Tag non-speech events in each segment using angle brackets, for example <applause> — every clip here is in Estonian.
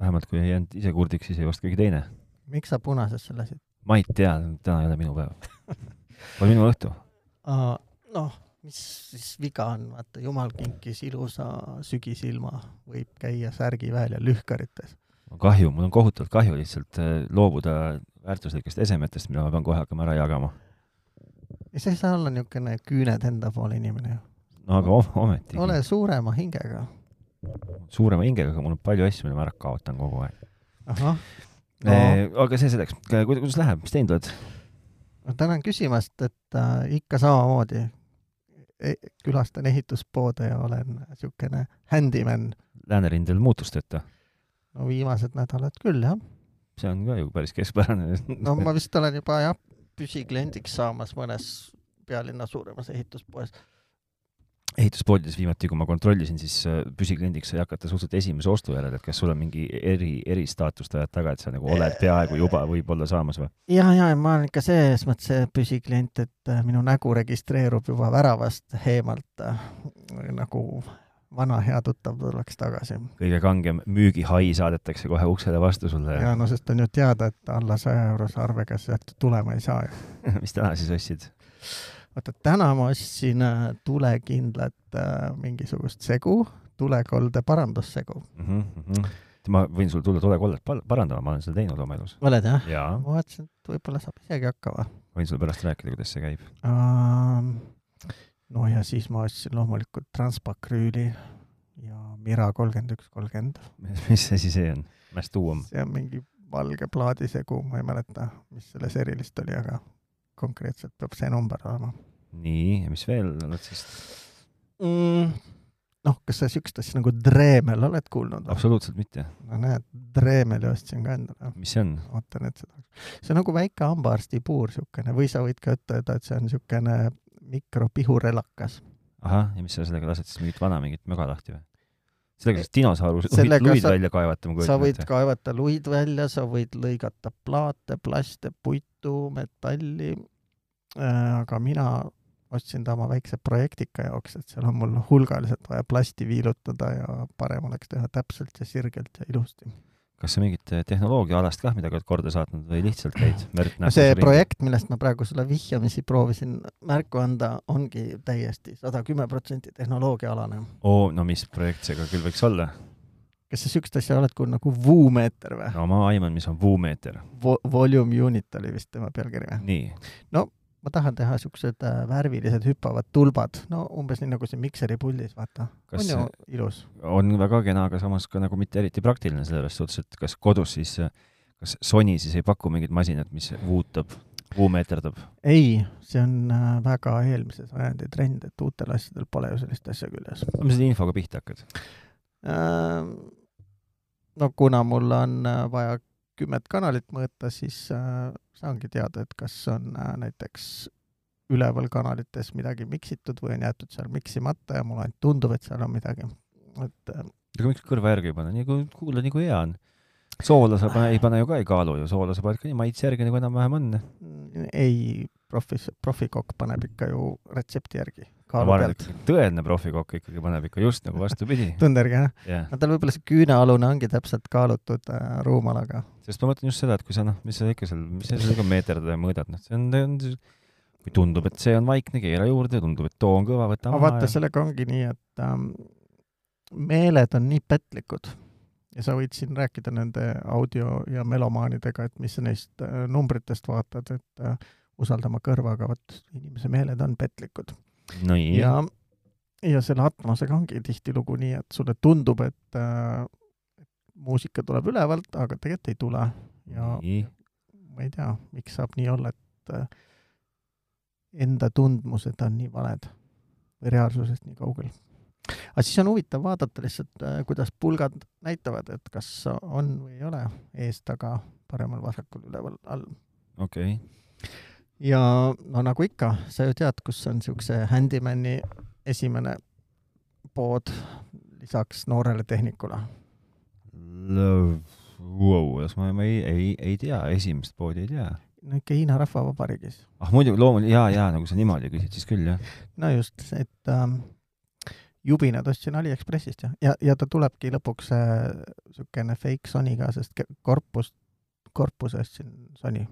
vähemalt kui ei jäänud ise kurdiks , siis ei vasta keegi teine . miks sa punasesse lasid ? ma ei tea , täna ei ole minu päev <laughs> või minu õhtu . noh , mis siis viga on , vaata jumal kinkis ilusa sügisilma , võib käia särgi väel ja lühkarites . kahju , mul on kohutavalt kahju lihtsalt äh, loobuda väärtuslikest esemetest , mida ma pean kohe hakkama ära jagama . ja sa ei saa olla niisugune küüned enda poole inimene ju . no aga om- ometigi ole suurema hingega . suurema hingega , aga mul on palju asju , mida ma ära kaotan kogu aeg ahah , No. no. . aga see selleks , kuidas läheb , mis teinud oled ? no tänan küsimast , et äh, ikka samamoodi e külastan ehituspoode ja olen niisugune handyman . läänerindel muutusteta , no viimased nädalad küll jah . see on ka ju päris keskpärane <laughs> no ma vist olen juba jah püsikliendiks saamas mõnes pealinna suuremas ehituspoes . ehituspoodides viimati , kui ma kontrollisin , siis äh, püsikliendiks sai hakata suhteliselt esimese ostu järel , et kas sul on mingi eri , eristaatus tajad taga , et sa nagu oled peaaegu juba võib-olla saamas või ? ja , ja ma olen ikka selles mõttes eh, püsiklient , et äh, minu nägu registreerub juba väravast eemalt äh, nagu vana hea tuttav tuleks tagasi . kõige kangem müügihai saadetakse kohe uksele vastu sulle ja no sest on ju teada , et alla saja eurose arvega sealt tulema ei saa ju . <laughs> mis täna siis ostsid ? vaata , täna ma ostsin äh, tulekindlat äh, mingisugust segu , tulekolde parandussegu . ma võin sul tulla tulekollet pal- parandama , ma olen seda teinud oma elus . oled jah ? jaa , ma vaatasin , et võib-olla saab isegi hakkama võin sulle pärast rääkida , kuidas see käib . <laughs> Ähm, no ja siis ma ostsin loomulikult transpakrüüli ja Mira kolmkümmend üks , kolmkümmend . mis asi see on ? Mastuum . see on mingi valge plaadisegu , ma ei mäleta , mis selles erilist oli , aga konkreetselt peab see number olema nii , ja mis veel oled siis ? mm. . noh , kas sa siukest asja nagu Dreemel oled kuulnud ? absoluutselt mitte . no näed , Dreemeli ostsin ka endale . mis see on ? ootan , et seda , see on nagu väike hambaarstipuur siukene või sa võid ka ütelda , et see on siukene mikropihurelakas . ahah , ja mis sa sellega lased siis mingit vana mingit möga lahti või ? sellega saaks dinosaurus Sellega luid sa- välja kaevatama , kui sa võid . kaevata luid välja , sa võid lõigata plaate , plaste , puitu , metalli . aga mina ostsin ta oma väikse projektika jaoks , et seal on mul hulgaliselt vaja plasti viilutada ja parem oleks teha täpselt ja sirgelt ja ilusti . kas sa mingit eh, tehnoloogiaalast kah midagi oled korda saatnud või <clears throat> lihtsalt käid Märt no see ? projekt , millest ma praegu sulle vihjamisi proovisin märku anda , ongi täiesti sada kümme protsenti tehnoloogiaalane . oo , no mis projekt see ka küll võiks olla ? kas sa siukest asja oled kuulnud nagu Vuumeeter või ? no ma aiman , mis on vuumeeter . Vo- , Volume Unit oli vist tema pealkiri või ? nii , ma tahan teha siuksed äh, värvilised hüppavad tulbad , no umbes nii nagu siin mikseri puldis , vaata . Kas on ju ilus ? on väga kena , aga samas ka nagu mitte eriti praktiline selles suhtes , et kas kodus siis , kas Sony siis ei paku mingit masinat , mis vuutab , vuumeeterdab ? ei , see on äh, väga eelmise sajandi trend , et uutel asjadel pole ju sellist asja küljes . mis selle infoga pihta hakkad ? no kuna mul on äh, vaja kümmet kanalit mõõta , siis äh, saangi teada , et kas on äh, näiteks üleval kanalites midagi miksitud või on jäetud seal miksimata ja mulle ainult tundub , et seal on midagi . et äh, aga miks kõrva järgi ei pane , nii kui kuula , nii kui hea on . soola sa pane, ei pane ju ka ei kaalu ju , soola sa paned ka nii maitse järgi , nagu enam-vähem on . Mm, ei , profis , profikokk paneb ikka ju retsepti järgi kaalu ma arvan , pealt . et tõeline profikokk ikkagi paneb ikka just nagu <laughs> vastupidi . tunderge jah ? jah , no tal võib-olla see küünealune ongi täpselt kaalutud äh, ruumalaga . sest ma mõtlen just seda , et kui sa noh , mis sa ikka seal , mis sa sellega meeterdada ja mõõdad , noh , see on, see on , kui tundub , et see on vaikne , keera juurde , tundub , et too on kõva , võta aga maha vaata , ja sellega ongi nii , et ähm, meeled on nii petlikud ja sa võid siin rääkida nende audio- ja melomaanidega , et mis sa neist äh, numbritest vaatad , et äh, usaldama kõrvaga , vot inimese meeled on petlikud . no nii , ja , ja selle atmosega ongi tihtilugu nii , et sulle tundub , et äh, muusika tuleb ülevalt , aga tegelikult ei tule ja nii , ma ei tea , miks saab nii olla , et äh, enda tundmused on nii valed või reaalsusest nii kaugel . aga siis on huvitav vaadata lihtsalt äh, , kuidas pulgad näitavad , et kas on või ei ole ees , taga , paremal-vasakul , üleval-all . okei . ja no nagu ikka , sa ju tead , kus on siukse handymani esimene pood lisaks noorele tehnikule . Vau , las ma , ma ei , ei , ei tea , esimest poodi ei tea . no ikka Hiina Rahvavabariigis . ah muidugi , loomulikult , jaa , jaa , nagu sa niimoodi küsid , siis küll jah . no just , et ähm, jubinad ostsin Aliekspressist ja, ja , ja ta tulebki lõpuks äh, niisugune fake Sony ka , sest ke- korpus , korpuse ostsin Sony .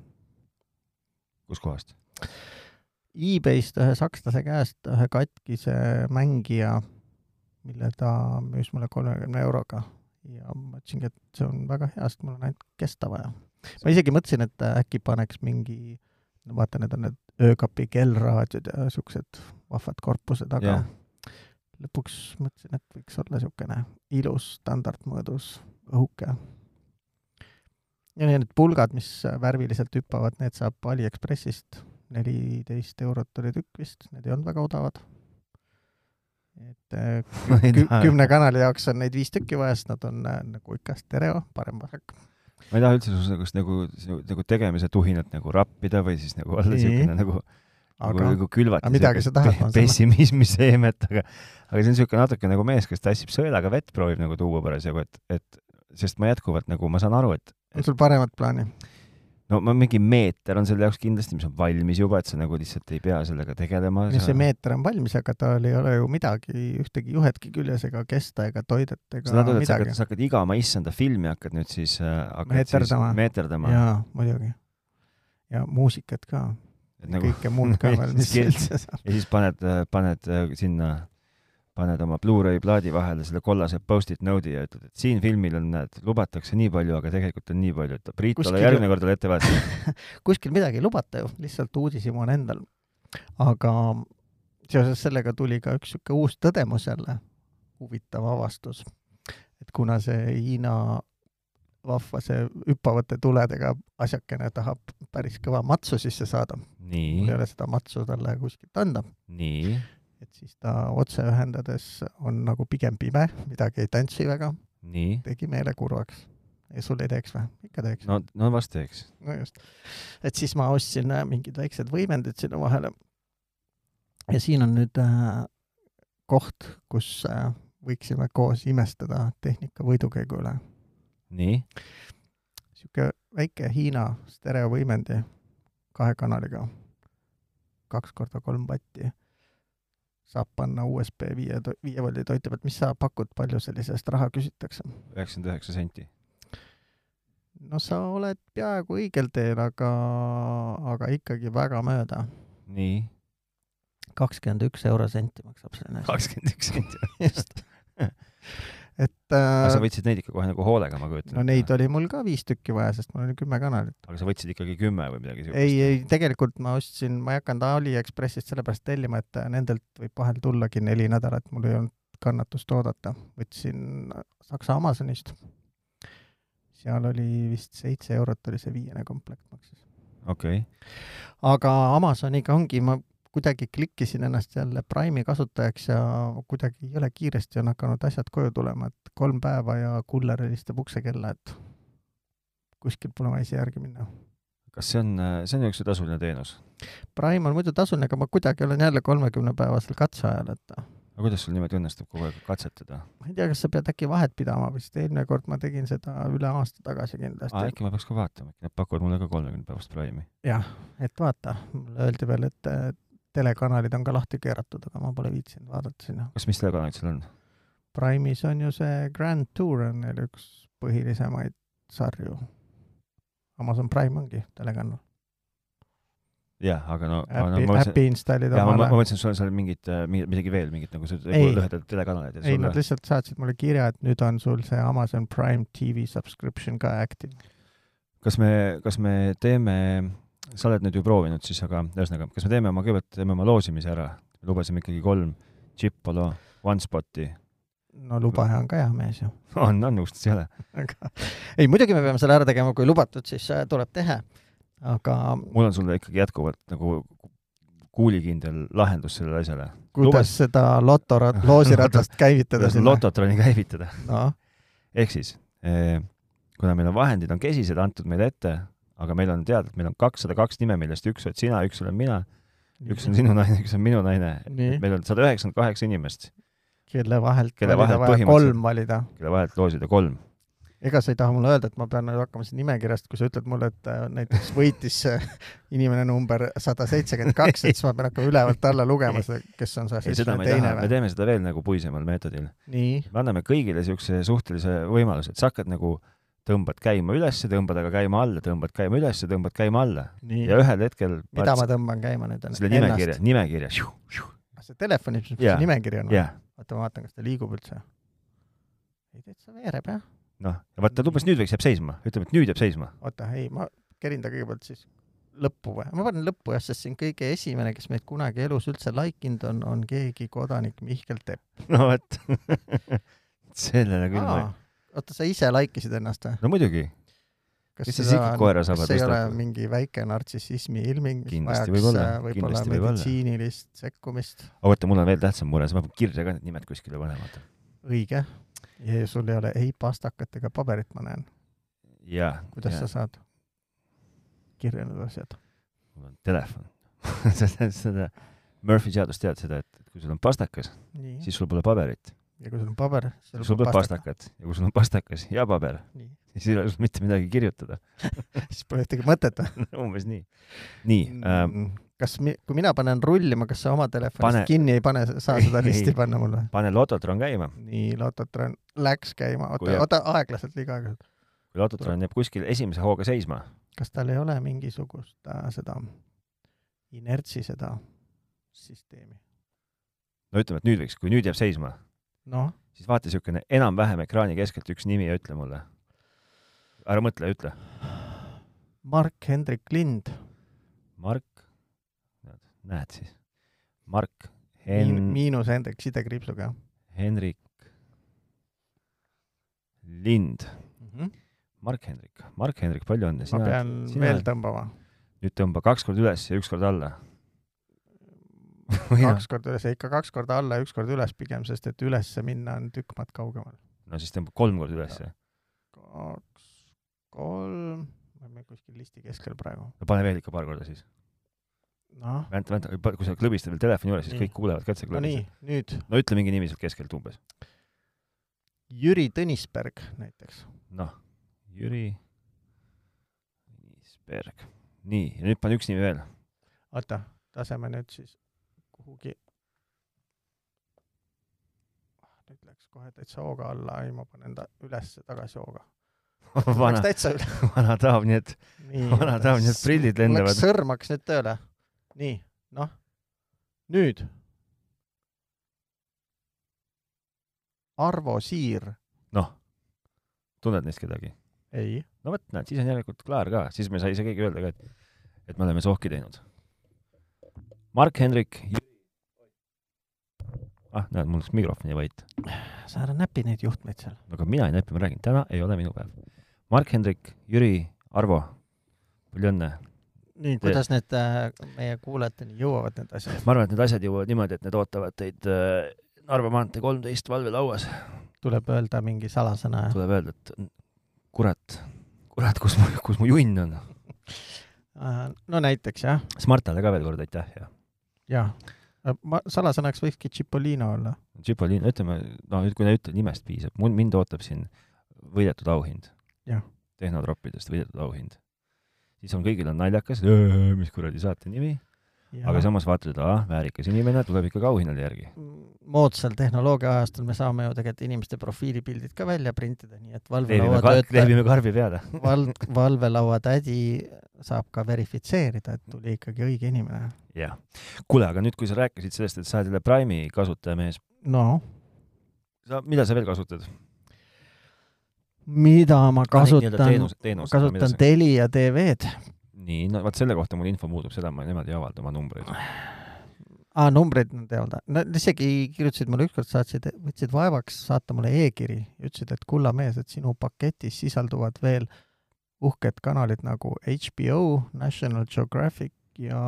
kuskohast ? <laughs> e-Bayst ühe sakslase käest ühe katkise mängija , mille ta müüs mulle kolmekümne euroga ja ma ütlesingi , et see on väga hea , sest mul on ainult kesta vaja . ma isegi mõtlesin , et äh, äkki paneks mingi , no vaata , need on need öökapi kellraadiod ja siuksed vahvad korpused , aga Jah. yeah. lõpuks mõtlesin , et võiks olla siukene ilus standardmõõdus õhuke . ja need pulgad , mis värviliselt hüppavad , need saab Aliekspressist , neliteist eurot oli tükk vist , need ei olnud väga odavad . et äh, Ma ei kü- taha- kümne kanali jaoks on neid viis tükki vaja , sest nad on äh, nagu ikka stereo , parem-vasak . ma ei taha üldse sinust nagu , nagu , nagu tegemise tuhinat nagu rappida või siis nagu olla Ei. niisugune nagu , nagu , aga nagu külvata aga midagi sa tahad, ma saan aru. pessimismi seemet , aga , aga see on niisugune natuke nagu mees , kes tassib sõelaga vett , proovib nagu tuua parasjagu , et , et sest ma jätkuvalt nagu , ma saan aru , et on sul paremat plaani ? no ma mingi meeter on selle jaoks kindlasti , mis on valmis juba , et sa nagu lihtsalt ei pea sellega tegelema . no see meeter on valmis , aga tal ei ole ju midagi , ühtegi juhetki küljes ega kesta ega toidet sa tahad ega öelda , et sa hakkad , midagi . sa hakkad igama issanda filmi hakkad nüüd siis äh, hakkad Meeterdama. siis meeterdama , jaa , muidugi . ja muusikat ka , et nagu kõike muud <laughs> ka veel , mis Keelt- üldse saab . ja siis paned , paned äh, sinna , paned oma Blu-ray plaadi vahele selle kollase post-it node'i ja ütled , et siin filmil on , näed , lubatakse nii palju , aga tegelikult on nii palju , et Priit , ole Kuskil- järgmine kord ole <laughs> ettevaatlik . kuskil midagi ei lubata ju , lihtsalt uudishimu on endal . aga seoses sellega tuli ka üks niisugune uus tõdemus jälle , huvitav avastus . et kuna see Hiina vahva see hüppavate tuledega asjakene tahab päris kõva matsu sisse saada , mul nii ei , ole seda matsu talle kuskilt anda , nii , et siis ta otseühendades on nagu pigem pime , midagi ei tantsi väga , nii . tegi meele kurvaks . ja sul ei teeks või ? ikka teeks . no , no vast teeks . no just . et siis ma ostsin äh, mingid väiksed võimendid sinna vahele . ja siin on nüüd äh, koht , kus äh, võiksime koos imestada tehnika võidukäigu üle . nii , niisugune väike Hiina stereovõimendi kahe kanaliga , kaks korda kolm vatti , saab panna USB viie , viie voldi toitu pealt , mis sa pakud , palju selle eest raha küsitakse ? üheksakümmend üheksa senti . no sa oled peaaegu õigel teel , aga , aga ikkagi väga mööda . nii . kakskümmend üks eurosenti maksab selline asi . kakskümmend üks <laughs> senti . just . et aga sa äh, võtsid neid ikka kohe nagu hoolega , ma kujutan no neid . oli mul ka viis tükki vaja , sest mul oli kümme kanalit . aga sa võtsid ikkagi kümme või midagi ei , siukest ? ei tegelikult ma ostsin , ma ei hakanud Aliekspressist sellepärast tellima , et nendelt võib vahel tullagi neli nädalat , mul ei olnud kannatust oodata . võtsin Saksa Amazonist . seal oli vist seitse eurot oli see viiene komplekt maksis . okei , aga Amazoniga ongi , ma kuidagi klikkisin ennast jälle Prime'i kasutajaks ja kuidagi jõle kiiresti on hakanud asjad koju tulema , et kolm päeva ja kuller helistab uksekella , et kuskilt pole vaja ise järgi minna . kas see on , see on üks tasuline teenus ? Prime on muidu tasuline , aga ma kuidagi olen jälle kolmekümnepäevasel katseajal , et aga kuidas sul niimoodi õnnestub kogu aeg katsetada ? ma ei tea , kas sa pead äkki vahet pidama vist , eelmine kord ma tegin seda üle aasta tagasi kindlasti . äkki ma peaks ka vaatama , äkki nad pakuvad mulle ka kolmekümne päevast Prime'i . jah , et vaata , mulle öeldi veel , et äh, telekanalid on ka lahti keeratud , aga ma pole viitsinud vaadata sinna . kas , mis telekanalid seal on ? Prime'is on ju see Grand Tour on neil üks põhilisemaid sarju . Amazon Prime ongi telekanal . jah , aga no , no äpi , ma mõtlesin , äpi installid jah , ma ma omale . mõtlesin , et sul on seal mingid , midagi veel , mingid nagu sa- Ei. lõhedad telekanaleid ja ei , nad sulle . lihtsalt saatsid mulle kirja , et nüüd on sul see Amazon Prime TV subscription ka active . kas me , kas me teeme , sa oled nüüd ju proovinud siis , aga ühesõnaga , kas me teeme oma , kõigepealt teeme oma loosimise ära , lubasime ikkagi kolm Chipolo One Spoti . <laughs> no lubaja on ka hea mees ju . on , on , ust ei ole . aga ei , muidugi me peame selle ära tegema , kui lubatud , siis äh, tuleb teha . aga mul on sulle ikkagi jätkuvalt nagu kuulikindel lahendus sellele asjale . kuidas seda lotorat- , loosiratast <laughs> käivitada kuidas sinna ? Lototroni käivitada ? noh , ehk siis eh, kuna meil on vahendid , on kesised antud meile ette , aga meil on teada , et meil on kakssada kaks nime , millest üks oled sina , üks olen mina , üks on sinu naine , üks on minu naine . Nii. meil on sada üheksakümmend kaheksa inimest , kelle vahelt Kelle valida vahelt vaja põhimõtteliselt- kolm valida . kelle vahelt loosida kolm . ega sa ei taha mulle öelda , et ma pean nüüd hakkama siit nimekirjast , kui sa ütled mulle , et äh, näiteks võitis äh, <laughs> inimene number sada seitsekümmend kaks , et siis ma pean hakkama ülevalt alla lugema seda , kes on saja ei , seda me seitsmekümne ei taha teine , me või ? teeme seda veel nagu puisemal meetodil . nii , me anname kõigile niisuguse suhtelise võimaluse , et sa hakkad nagu , tõmbad käima üles , tõmbad aga käima alla , tõmbad käima üles , tõmbad käima alla nii ja . ühel hetkel mida ma tõmban käima nüüd ? selle nimekirja ,. nimekirja . see telefonis , mis Jaa. yeah. nimekiri on jah , oota , ma vaatan , kas ta liigub üldse . ei , täitsa veereb jah . noh , vaata umbes nüüd võiks jääb seisma , ütleme , et nüüd jääb seisma . oota , ei , ma kerin ta kõigepealt siis lõppu või ? ma panen lõppu jah , sest siin kõige esimene , kes meid kunagi elus üldse like inud on , on keegi kodanik Mihkel Tepp . <laughs> no vot , sellele küll ma ei . oota , sa ise like isid ennast või ? no muidugi , kas Kes siis ikka koera saavad kas see ei ole tõstata? mingi väike nartsissismi ilming , mis Kindlasti võib vajaks olla, äh, võib-olla kindlasti võib olla. meditsiinilist sekkumist ? aga oota , mul on veel tähtsam mure , sa pead kirja ka need nimed kuskile panema , vaata . õige . ja sul ei ole ei pastakat ega paberit , ma näen . jaa . kuidas ja. sa saad kirjeldada seda ? mul on telefon . <laughs> sa tead seda , Murphy seadus tead seda , et kui sul on pastakas , nii . siis sul pole paberit . ja kui sul on paber , siis sul pole pastakat ja kui sul on pastakas ja paber , nii , <laughs> siis ei ole sul mitte midagi kirjutada . <laughs> siis pole ühtegi mõtet või ? umbes nii . nii Mm. ähm, , kas , kui mina panen rullima , kas sa oma telefonist pane... Pane- kinni ei pane , sa seda <laughs> Ei. risti panna mulle ? pane Lototron käima . nii , Lototron läks käima , oota Kui- , oota aeglaselt , liiga aeglaselt . kui Lototron jääb kuskil esimese hooga seisma , kas tal ei ole mingisugust äh, seda inertsi , seda süsteemi ? no ütleme , et nüüd võiks , kui nüüd jääb seisma , noh , siis vaata niisugune enam-vähem ekraani keskelt üks nimi ja ütle mulle . ära mõtle , ütle . Mark Hendrik Lind , Mark , näed siis , Mark Hen- , miinus Hendrik sidekriipsuga Henrik Lind , mm . -hmm. Mark Henrik , Mark Henrik , palju õnne , ma sina pean sina- sina... veel tõmbama nüüd tõmba kaks korda üles ja üks kord alla Või noh, kaks korda üles , ikka kaks korda alla ja üks kord üles pigem , sest et ülesse minna on tükk maad kaugemal . no siis tõmba kolm korda üles , kaks , kolm , me oleme kuskil listi keskel praegu . no pane veel ikka paar korda siis . noh , vänta , vänta , kui sa klõbistad veel telefoni juures , siis Nii. kõik kuulevad ka , et sa no nii klõbistad ., nüüd no ütle mingi nimi sealt keskelt umbes . Jüri Tõnisberg näiteks . noh , Jüri Isberg . nii , ja nüüd pane üks nimi veel . <laughs> oota , laseme nüüd siis kuhugi . Ah, nüüd läks kohe täitsa hooga alla , ei ma panen ta ülesse tagasi hooga . vana Läks , täitsa üle . vana tahab , nii et , <laughs> vana tahab , nii et prillid lendavad Läks . sõrm hakkas nüüd tööle . nii , noh , nüüd . Arvo Siir . noh , tunned neist kedagi ? ei . no vot , näed , siis on järelikult klaar ka , siis me ei saa ise keegi öelda ka , et , et me oleme sohki teinud . Mark-Hendrik . ah , näed , mul läks mikrofoni vait . sa ära näpi neid juhtmeid seal . no aga mina ei näpi , ma räägin , täna ei ole minu päev . Mark-Hendrik , Jüri , Arvo , palju õnne . nii , kuidas need äh, meie kuulajateni jõuavad need asjad ? ma arvan , et need asjad jõuavad niimoodi , et need ootavad teid äh, Narva maantee kolmteist valvelauas . tuleb öelda mingi salasõna , jah ? tuleb öelda , et kurat , kurat , kus mu , kus mu junn on . Äh, no näiteks jah , Smartale ka veel kord aitäh ja jah . Äh, ma , salasõnaks võikski Cipollino olla . Tšipolin , ütleme , no nüüd, kui ta ütleb nimest piisab , mul , mind ootab siin võidetud auhind . Jah. tehnotroppidest võidetud auhind . siis on , kõigil on naljakas , mis kuradi saate nimi , aga samas vaatad , et aa , väärikas inimene tuleb ikkagi auhinnale järgi . moodsal tehnoloogia ajastul me saame ju tegelikult inimeste profiilipildid ka välja printida , nii et kleebime valvelaua kar- , töötaja , kleebime karbi peale . <laughs> val- , valvelaua tädi saab ka verifitseerida , et tuli ikkagi õige inimene . jah . kuule , aga nüüd , kui sa rääkisid sellest , et sa oled jälle Prime'i kasutajamees , no sa , mida sa veel kasutad ? mida ma kasutan , teenus, kasutan . Telia TV-d . nii , no vot selle kohta mul info puudub , seda ma , nemad ei avalda oma numbreid . Ah, aa , numbreid nad ei olnud , nad isegi kirjutasid mulle ükskord , saatsid , võtsid vaevaks saata mulle e-kiri , ütlesid , et kulla mees , et sinu paketis sisalduvad veel uhked kanalid nagu HBO , National Geographic ja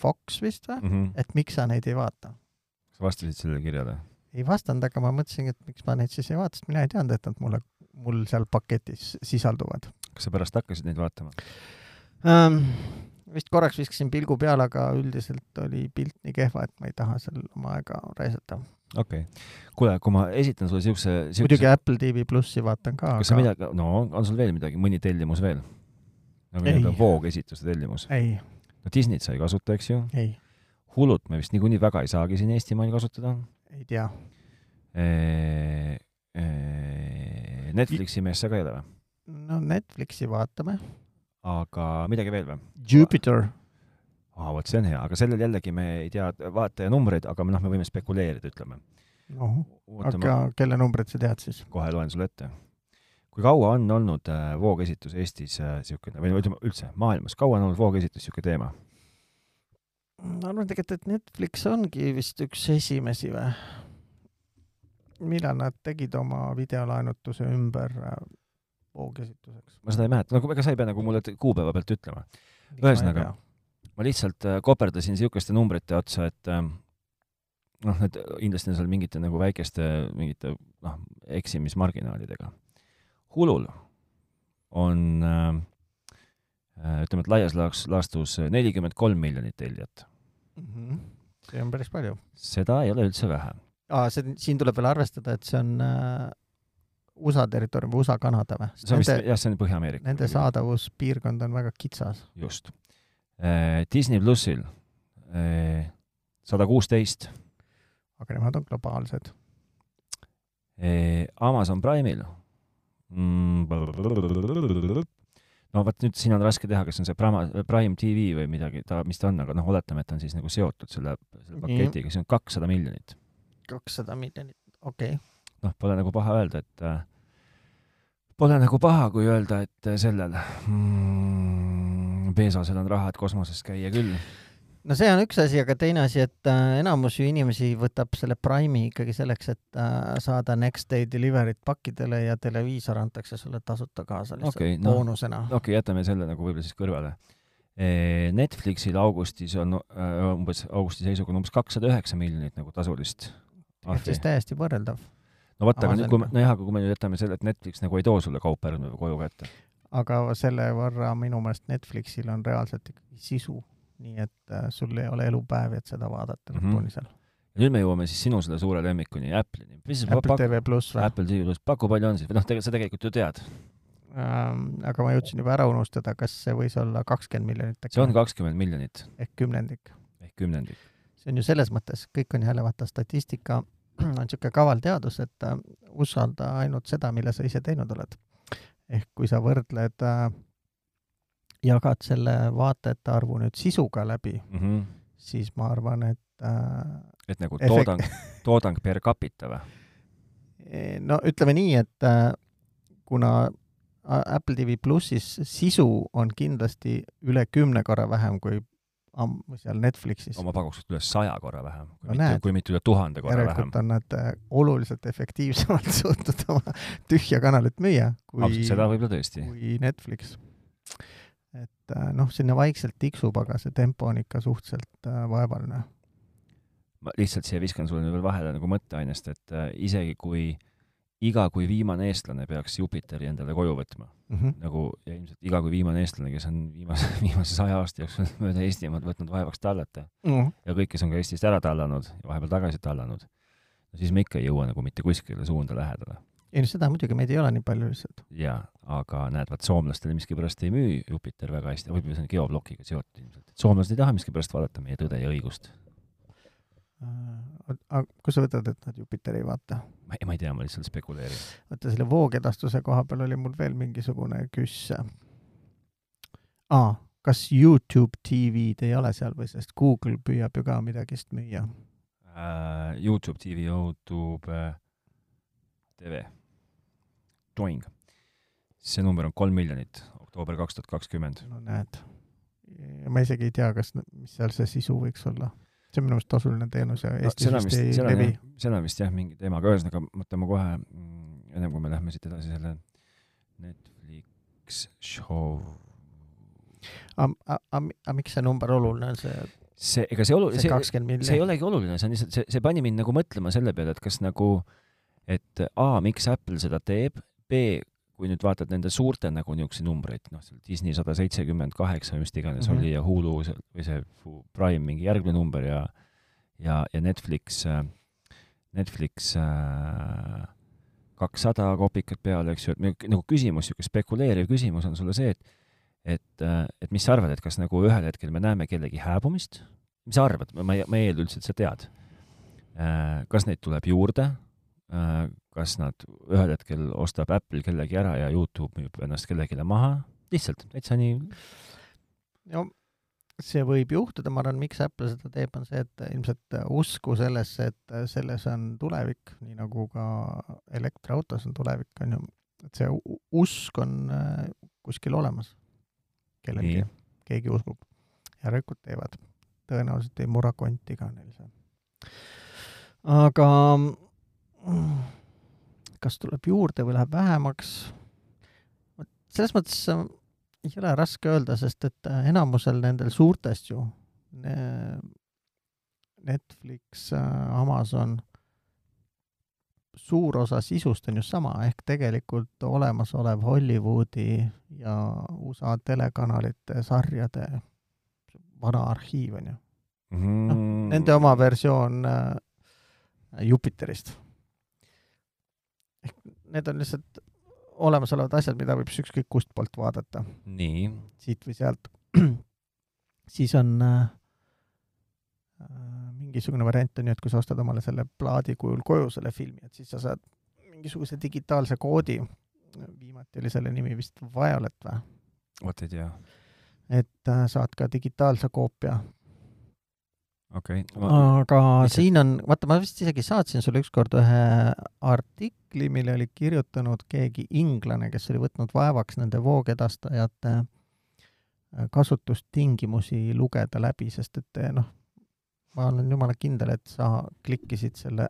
Fox vist või , sa et miks sa neid ei vaata Mhm. vastasid sellele kirjale ? ei vastanud , aga ma mõtlesingi , et miks ma neid siis ei vaata , sest mina ei teadnud , et nad mulle , mul seal paketis sisalduvad kas sa pärast hakkasid neid vaatama ? ähm, . vist korraks viskasin pilgu peale , aga üldiselt oli pilt nii kehva , et ma ei taha seal oma aega raisata . okei okay. . kuule , kui ma esitan sulle siukse , muidugi siukse , Apple TV plussi vaatan ka , kas sa aga midagi , no on sul veel midagi , mõni tellimus veel ? nagu Ei. nii-öelda voogesituse tellimus . ei , no Disneyt sa ei kasuta , eks ju . ei , Hulut me vist niikuinii väga ei saagi siin Eestimaal kasutada . ei tea . Netflixi mees sa ka ei ole või ? no Netflixi vaatame . aga midagi veel või ? Jupiter , aa , vot see on hea , aga sellel jällegi me ei tea vaatajanumbreid , aga noh , me võime spekuleerida , ütleme . noh , oota , ma aga kelle numbrit sa tead siis ? kohe loen sulle ette . kui kaua on olnud äh, voogesitus Eestis niisugune äh, , või ütleme üldse maailmas , kaua on olnud voogesitus niisugune teema ? ma arvan tegelikult , et Netflix ongi vist üks esimesi või ? millal nad tegid oma videolaenutuse ümber äh, voogesituseks ? ma seda ei mäleta , no ega sa ei pea nagu mulle t- kuupäeva pealt ütlema . Ühesõnaga, , ma lihtsalt äh, koperdasin niisuguste numbrite otsa , et ähm, noh , need kindlasti on seal mingite nagu väikeste mingite noh , eksimismarginaalidega . Hulul on äh, äh, ütleme , et laias laas- laastus nelikümmend kolm miljonit tellijat . Mhm. see on päris palju . seda ei ole üldse vähe . aa , see , siin tuleb veel arvestada , et see on äh, USA territoorium või USA-Kanada või ? see on vist , jah , see on Põhja-Ameerika . Nende saadavuspiirkond on väga kitsas . just . Disney plussil äh, sada kuusteist , aga nemad on globaalsed . Eh, Amazon Prime'il . no vot nüüd siin on raske teha , kas on see Prama- Prime TV või midagi , ta , mis ta on , aga noh , oletame , et ta on siis nagu seotud selle , selle Nii. paketiga , see on kakssada miljonit . kakssada miljonit , okei okay. . noh , pole nagu paha öelda , et äh, Pole nagu paha , kui öelda , et äh, sellel mm, Bezosel on raha , et kosmoses käia küll . no see on üks asi , aga teine asi , et äh, enamus ju inimesi võtab selle Prime'i ikkagi selleks , et äh, saada next day delivery't pakkidele ja televiisor antakse sulle tasuta kaasa lihtsalt Okei, okay, noh. no. boonusena okei no. . okay, , jätame selle nagu võib-olla siis kõrvale . Netflixil augustis on äh, umbes , augusti seisuga on umbes kakssada üheksa miljonit nagu tasulist . et siis no täiesti võrreldav . vot , aga nüüd , kui me , Amazoniga. nojah , aga kui me nüüd jätame selle , et Netflix nagu ei too sulle kaupa ära nagu koju kätte . aga selle võrra minu meelest Netflixil on reaalselt ikkagi sisu , nii et äh, sul ei ole elupäevi , et seda vaadata mm Mhm. -hmm. lõpuni seal . ja nüüd me jõuame siis sinu selle suure lemmikuni , Apple'ini . mis see Apple pak- , TV pluss või ? Apple TV pluss , paku palju on siis , või noh , tegelikult sa tegelikult ju tead , ähm, , aga ma jõudsin juba ära unustada , kas see võis olla kakskümmend miljonit see on äkki , kakskümmend miljonit ehk kümnendik . ehk kümnendik . see on ju selles mõttes , kõik on jälle vaata statistika <clears throat> on niisugune kaval teadus , et äh, usalda ainult seda , mille sa ise teinud oled . ehk kui sa võrdled äh, jagad selle vaatajate arvu nüüd sisuga läbi , Mm -hmm. siis ma arvan , et äh, et nagu Efekt- toodang , toodang per capita või ? Eh, no ütleme nii , et äh, kuna A- Apple TV plussis sisu on kindlasti üle kümne korra vähem kui ammu seal Netflixis , ma pakuks et üle saja korra vähem , kui no, No mitte näed. , kui mitte üle tuhande korra vähem järelikult . on nad äh, oluliselt efektiivsemalt <laughs> suutnud oma tühja kanalit müüa kui, ausalt , seda võib-olla tõesti . kui Netflix . et äh, noh , sinna vaikselt tiksub , aga see tempo on ikka suhteliselt äh, vaevaline . ma lihtsalt siia viskan sulle nüüd veel vahele nagu mõtteainest , et äh, isegi kui iga kui viimane eestlane peaks Jupiteri endale koju võtma , Mhm. nagu ja ilmselt iga kui viimane eestlane , kes on viimase , <laughs> viimase saja aasta jooksul <laughs> mööda Eestimaad võtnud vaevaks tallata noh , ja kõik , kes on ka Eestist ära tallanud ja vahepeal tagasi tallanud , no siis me ikka ei jõua nagu mitte kuskile suunda lähedale . ei no seda muidugi meid ei ole nii palju lihtsalt . jaa , aga näed , vaat soomlastele miskipärast ei müü Jupiter väga hästi , võib-olla see on geoblokiga seotud ilmselt . soomlased ei taha miskipärast vaadata meie Tõde ja õigust . Äh, aga kus sa võtad , et nad Jupiteri ei vaata ? ma ei , ma ei tea , ma lihtsalt spekuleerin . vaata selle voogedastuse koha peal oli mul veel mingisugune küss . aa , kas Youtube TV-d ei ole seal või , sest Google püüab ju ka midagist müüa . äh, Youtube TV , Youtube äh, TV . Doing . see number on kolm miljonit , oktoober kaks tuhat kakskümmend . no näed . ma isegi ei tea , kas , mis seal see sisu võiks olla . see on minu meelest tasuline teenus ja Eestis seda no, Noh, on vist vist , ei seda on levi jah , seda on vist jah mingi teema , aga ühesõnaga võtame kohe , ennem kui me lähme siit edasi selle Netflix show . A- a- a- mi- aga miks see number oluline on , see , see , ega see olu- , see see , kakskümmend see ei miljonit ? olegi oluline , see on lihtsalt , see , see pani mind nagu mõtlema selle peale , et kas nagu , et A , miks Apple seda teeb , B , kui nüüd vaatad nende suurte nagu niisuguseid numbreid , noh , seal Disney sada seitsekümmend kaheksa või mis ta iganes mm Mhm. -hmm. oli ja Hulu seal- või see Prime mingi järgmine number ja , ja , ja Netflix , äh, Netflix äh, kakssada äh, kopikat peale, eks ju, et nagu küsimus, niisugune spekuleeriv küsimus on sulle see, et et, äh, et mis sa arvad, et kas nagu ühel hetkel me näeme kellegi hääbumist? mis sa arvad, ma ei, ma ei eelda üldse, et sa tead. Äh, kas neid tuleb juurde? Äh, kas nad ühel hetkel ostab Apple kellegi ära ja Youtube müüb ennast kellelegi maha? lihtsalt, täitsa nii. no see võib juhtuda, ma arvan, miks Apple seda teeb, on see, et ilmselt äh, usku sellesse, et äh, selles on tulevik, nii nagu ka elektriautos on tulevik, on ju. et see usk on äh, kuskil olemas kellelgi, keegi usub. järelikult teevad. tõenäoliselt ei murra konti ka neil seal. aga mm, kas tuleb juurde või läheb vähemaks? selles mõttes äh, ei ole raske öelda, sest et äh, enamusel nendel suurtest ju Netflix, äh, Amazon, suur osa sisust on ju sama, ehk tegelikult olemasolev Hollywoodi ja USA telekanalite sarjade vana arhiiv on ju mm. -hmm. No, Mhm. nende oma versioon äh, Jupiterist. ehk need on lihtsalt olemasolevad asjad, mida võib siis ükskõik kust poolt vaadata. nii. siit või sealt. <clears throat> siis on äh, mingisugune variant on ju, et kui sa ostad omale selle plaadi kujul koju selle filmi, et siis sa saad mingisuguse digitaalse koodi, viimati oli selle nimi vist Violet või? vot ei tea. et äh, saad ka digitaalse koopia. okei okay.. aga Mis siin on, vaata, ma vist isegi saatsin sulle ükskord ühe artikli, mille oli kirjutanud keegi inglane, kes oli võtnud vaevaks nende voogedastajate äh, kasutustingimusi lugeda läbi, sest et noh, ma olen jumala kindel, et sa klikkisid selle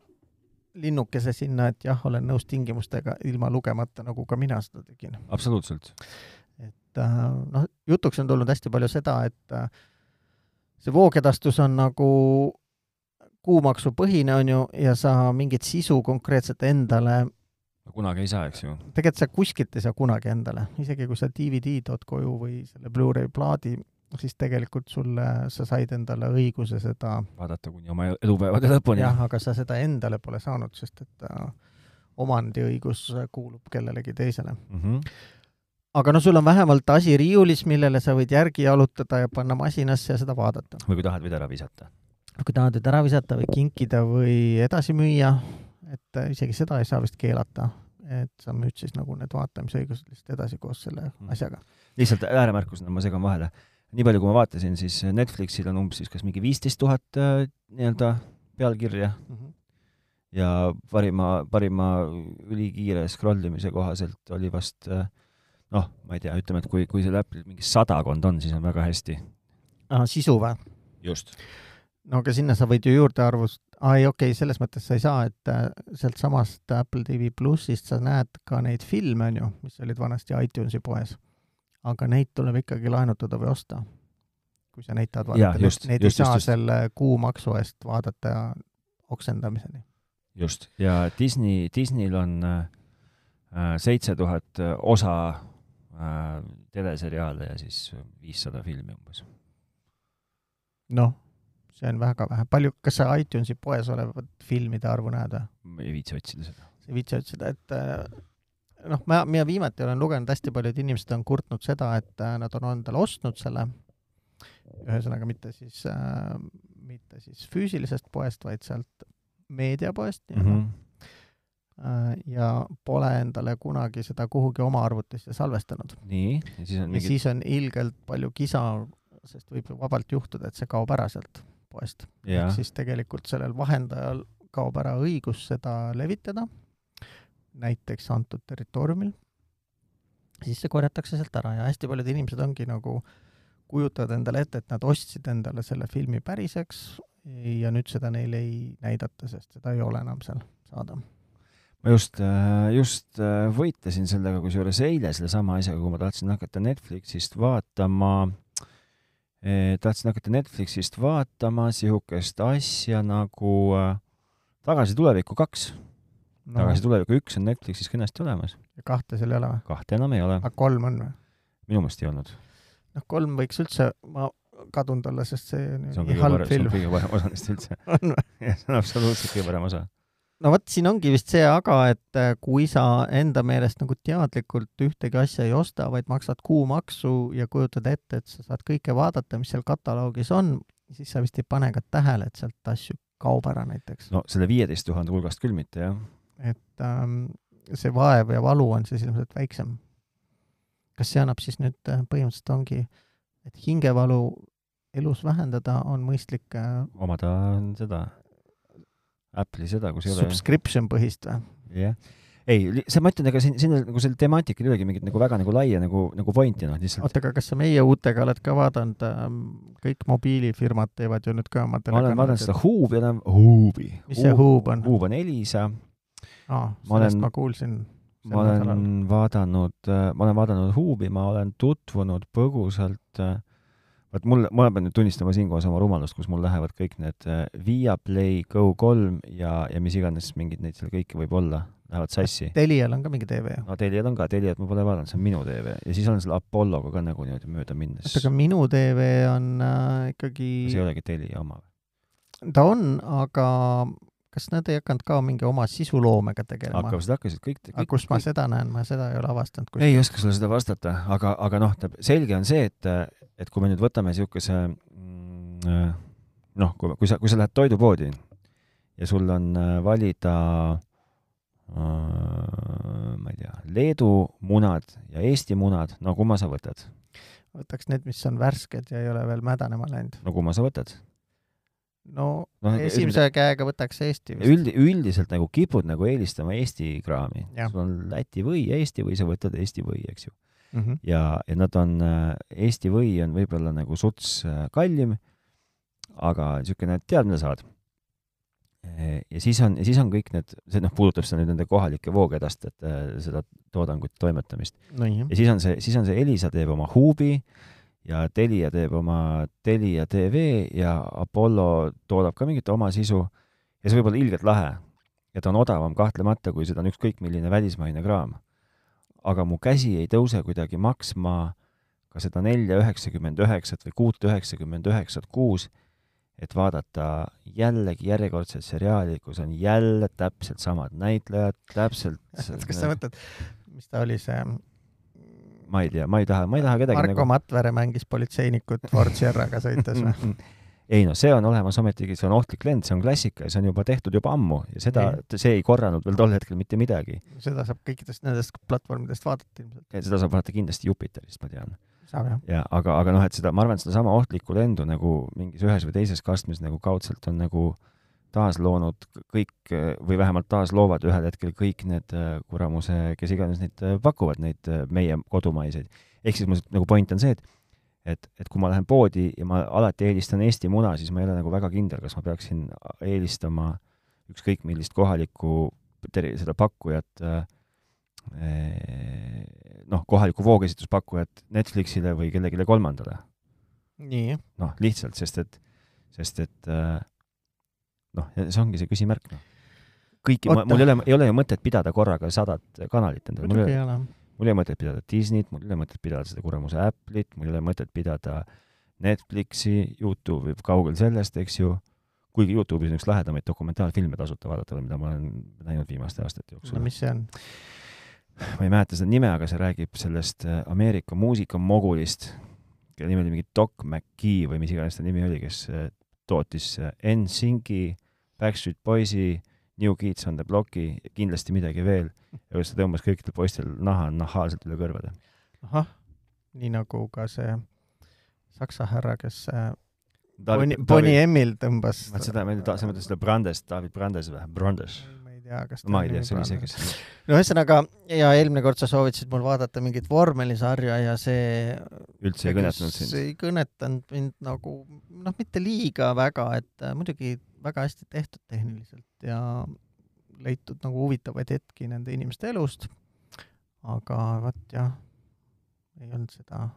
linnukese sinna, et jah, olen nõus tingimustega, ilma lugemata, nagu ka mina seda tegin. absoluutselt. et noh, jutuks on tulnud hästi palju seda, et äh, see voogedastus on nagu kuumaksupõhine, on ju, ja sa mingit sisu konkreetselt endale no kunagi ei saa, eks ju. tegelikult sa kuskilt ei saa kunagi endale, isegi kui sa DVD tood koju või selle Blu-ray plaadi siis tegelikult sulle, sa said endale õiguse seda vaadata kuni oma elupäevade lõpuni. jah, aga sa seda endale pole saanud, sest et äh, omandiõigus kuulub kellelegi teisele mm. -hmm. aga no sul on vähemalt asi riiulis, millele sa võid järgi jalutada ja panna masinasse ja seda vaadata. või kui tahad, võid ära visata. kui tahad, võid ära visata või kinkida või edasi müüa, et äh, isegi seda ei saa vist keelata et sa müüd siis nagu need vaatamisõigused lihtsalt edasi koos selle mm -hmm. asjaga. lihtsalt ääremärkusena ma segan vahele nii palju, kui ma vaatasin, siis Netflixil on umbes siis kas mingi viisteist tuhat äh, nii-öelda pealkirja mm. Mhm. -hmm. ja parima, parima ülikiire scroll imise kohaselt oli vast äh, noh, ma ei tea, ütleme, et kui, kui seal Apple'il mingi sadakond on, siis on väga hästi. sisu või? just. no aga sinna sa võid ju juurde arvust, aa ei okei okay,, selles mõttes sa ei saa, et äh, sealtsamast Apple TV plussist sa näed ka neid filme, on ju, mis olid vanasti iTunesi poes aga neid tuleb ikkagi laenutada või osta. kui sa neid tahad vaadata, neid, neid just, ei saa just, selle kuumaksu eest vaadata oksendamiseni. just, ja Disney, Disneyl on eh, seitse äh, tuhat osa äh, teleseriaale ja siis viissada filmi umbes. noh, see on väga vähe, palju, kas sa iTunesi poes olevat filmide arvu näed või? ma ei viitsi otsida seda. sa ei viitsi otsida, et äh, noh, ma, mina viimati olen lugenud, hästi paljud inimesed on kurtnud seda, et äh, nad on endale ostnud selle, ühesõnaga mitte siis äh,, mitte siis füüsilisest poest, vaid sealt meediapoest mm, Mhm. -hmm. Äh, ja pole endale kunagi seda kuhugi oma arvutisse salvestanud. nii, ja siis on mingi... ja siis on ilgelt palju kisa, sest võib ju vabalt juhtuda, et see kaob ära sealt poest. ehk siis tegelikult sellel vahendajal kaob ära õigus seda levitada näiteks antud territooriumil, siis see korjatakse sealt ära ja hästi paljud inimesed ongi nagu, kujutavad endale ette, et nad ostsid endale selle filmi päriseks ja nüüd seda neile ei näidata, sest seda ei ole enam seal saada. ma just, äh, just võitlesin sellega, kusjuures eile sellesama asjaga, kui ma tahtsin hakata Netflixist vaatama, Äh, tahtsin hakata Netflixist vaatama sihukest asja nagu Tagasi tulevikku kaks no.. tagasi tuleviku üks on Netflixis kenasti olemas. ja kahte seal ei ole või? kahte enam ei ole. aga kolm on või? minu meelest ei olnud. noh, kolm võiks üldse, ma kadun talle, sest see on ju nii halb film. <laughs> see on kõige parem osa neist üldse <laughs> on või? jah, see on absoluutselt kõige parem osa. no vot, siin ongi vist see aga, et äh, kui sa enda meelest nagu teadlikult ühtegi asja ei osta, vaid maksad kuumaksu ja kujutad ette, et sa saad kõike vaadata, mis seal kataloogis on, siis sa vist ei pane ka tähele, et sealt asju kaob ära näiteks. no selle viieteist tuhande hulgast küll mitte, jah. et ähm, see vaev ja valu on siis ilmselt väiksem. kas see annab siis nüüd, äh, põhimõtteliselt ongi, et hingevalu elus vähendada on mõistlik äh, omada seda Apple'i seda, kus ei ole. Subscription põhist või? jah yeah.. ei, see, ma ütlen, ega siin, siin nagu sel temaatikal ei olegi mingit nagu väga nagu laia nagu, nagu pointi, noh lihtsalt. oota, aga kas sa meie uutega oled ka vaadanud ähm,, kõik mobiilifirmad teevad ju nüüd ka oma ma olen vaadanud seda Hoove'i, olen, Hoove'i. mis see Hoove on? Hoove on Elisa. aa, sellest ma, ma kuulsin. ma olen vaadanud, äh, ma olen vaadanud Hoove'i, ma olen tutvunud põgusalt äh, vaat mul, ma pean nüüd tunnistama siinkohas oma rumalust, kus mul lähevad kõik need äh, Via Play, Go3 ja, ja mis iganes mingid neid seal kõiki võib olla, lähevad sassi. Telial on ka mingi TV ju. no Telial on ka, Teliat ma pole vaadanud, see on minu TV ja siis olen selle Apolloga ka nagu niimoodi mööda minnes. oota, aga minu TV on äh, ikkagi see ei olegi Telia oma või? ta on, aga kas nad ei hakanud ka mingi oma sisuloomega tegelema? hakkavad, hakkasid kõik, kõik. aga kus ma seda näen, ma seda ei ole avastanud. ei oska sulle seda vastata, aga, aga noh, selge on see, et, et kui me nüüd võtame niisuguse noh, kui, kui sa, kui sa lähed toidupoodi ja sul on äh, valida äh, ma ei tea, Leedu munad ja Eesti munad, no kumma sa võtad? võtaks need, mis on värsked ja ei ole veel mädanema läinud. no kumma sa võtad? no, no esimese üld... käega võtaks Eesti vist. üld-, üldiselt nagu kipud nagu eelistama Eesti kraami. sul on Läti või Eesti või sa võtad Eesti või, eks ju mm. Mhm. -hmm. ja, ja nad on, äh, Eesti või on võib-olla nagu suts kallim, aga niisugune, et tead, mida saad. ja siis on, ja siis on kõik need, see noh, puudutab seda nüüd nende kohalike voogedastajate seda toodangut, toimetamist no,. ja siis on see, siis on see Elisa teeb oma huubi ja Telia teeb oma Telia TV ja Apollo toodab ka mingit oma sisu ja see võib olla ilgelt lahe ja ta on odavam kahtlemata, kui seda on ükskõik milline välismaine kraam. aga mu käsi ei tõuse kuidagi maksma ka seda nelja üheksakümmend üheksat või kuut üheksakümmend üheksat kuus, et vaadata jällegi järjekordset seriaali, kus on jälle täpselt samad näitlejad, täpselt <laughs> kas sa mõtled, mis ta oli see mm, ma ei tea, ma ei taha, ma ei taha kedagi Marko nagu... Matvere mängis politseinikut Ford Sierraga sõites <laughs> või ei no see on olemas ometigi, see on ohtlik lend, see on klassika ja see on juba tehtud juba ammu ja seda, see ei korranud veel tol hetkel mitte midagi. seda saab kõikidest nendest platvormidest vaadata ilmselt. seda saab vaadata kindlasti Jupiterist, ma tean. saab jah. ja aga, aga noh, et seda, ma arvan, et sedasama ohtlikku lendu nagu mingis ühes või teises kastmes nagu kaudselt on nagu taasloonud kõik või vähemalt taasloovad ühel hetkel kõik need äh, kuramuse, kes iganes neid äh, pakuvad, neid meie kodumaiseid. ehk siis mu nagu point on see, et et, et kui ma lähen poodi ja ma alati eelistan Eesti muna, siis ma ei ole nagu väga kindel, kas ma peaksin eelistama ükskõik millist kohalikku ter-, seda pakkujat, äh, noh, kohalikku voogesituspakkujat Netflixile või kellelegi kolmandale. nii. noh, lihtsalt, sest et, sest et äh, noh, see ongi see küsimärk, noh. kõiki, mul ei ole, ei ole ju mõtet pidada korraga sadat kanalit endale. muidugi ei ole. mul ei ole mõtet pidada Disneyt, mul ei ole mõtet pidada seda kuramuse Apple'it, mul ei ole mõtet pidada Netflixi, Youtube'i, kaugel sellest, eks ju, kuigi Youtube'is on üks lahedamaid dokumentaalfilme tasuta vaadata veel, mida ma olen näinud viimaste aastate jooksul. no mis see on? ma ei mäleta seda nime, aga see räägib sellest äh, Ameerika muusikamogulist, kelle nimi oli mingi Doc McKee või mis iganes ta nimi oli, kes äh, tootis NSYNC-i, Backstreet Boysi, New Kids on the Blocki, kindlasti midagi veel, ja kuidas ta tõmbas kõikidel poistel naha nahaalselt üle kõrvade. ahah, nii nagu ka see saksa härra, kes äh, Bonnie, Bonnie Emmil tõmbas. vaat seda, ma ei tea, sa mõtled seda Brandes, David Brandes või? Brandes? ma ei tea, kas ma ei tea, see oli see, kes no ühesõnaga, ja eelmine kord sa soovitasid mul vaadata mingit vormelisarja ja see üldse ei kõnetanud sind? ei kõnetanud mind nagu noh, mitte liiga väga, et äh, muidugi väga hästi tehtud tehniliselt ja leitud nagu huvitavaid hetki nende inimeste elust, aga vot jah, ei olnud seda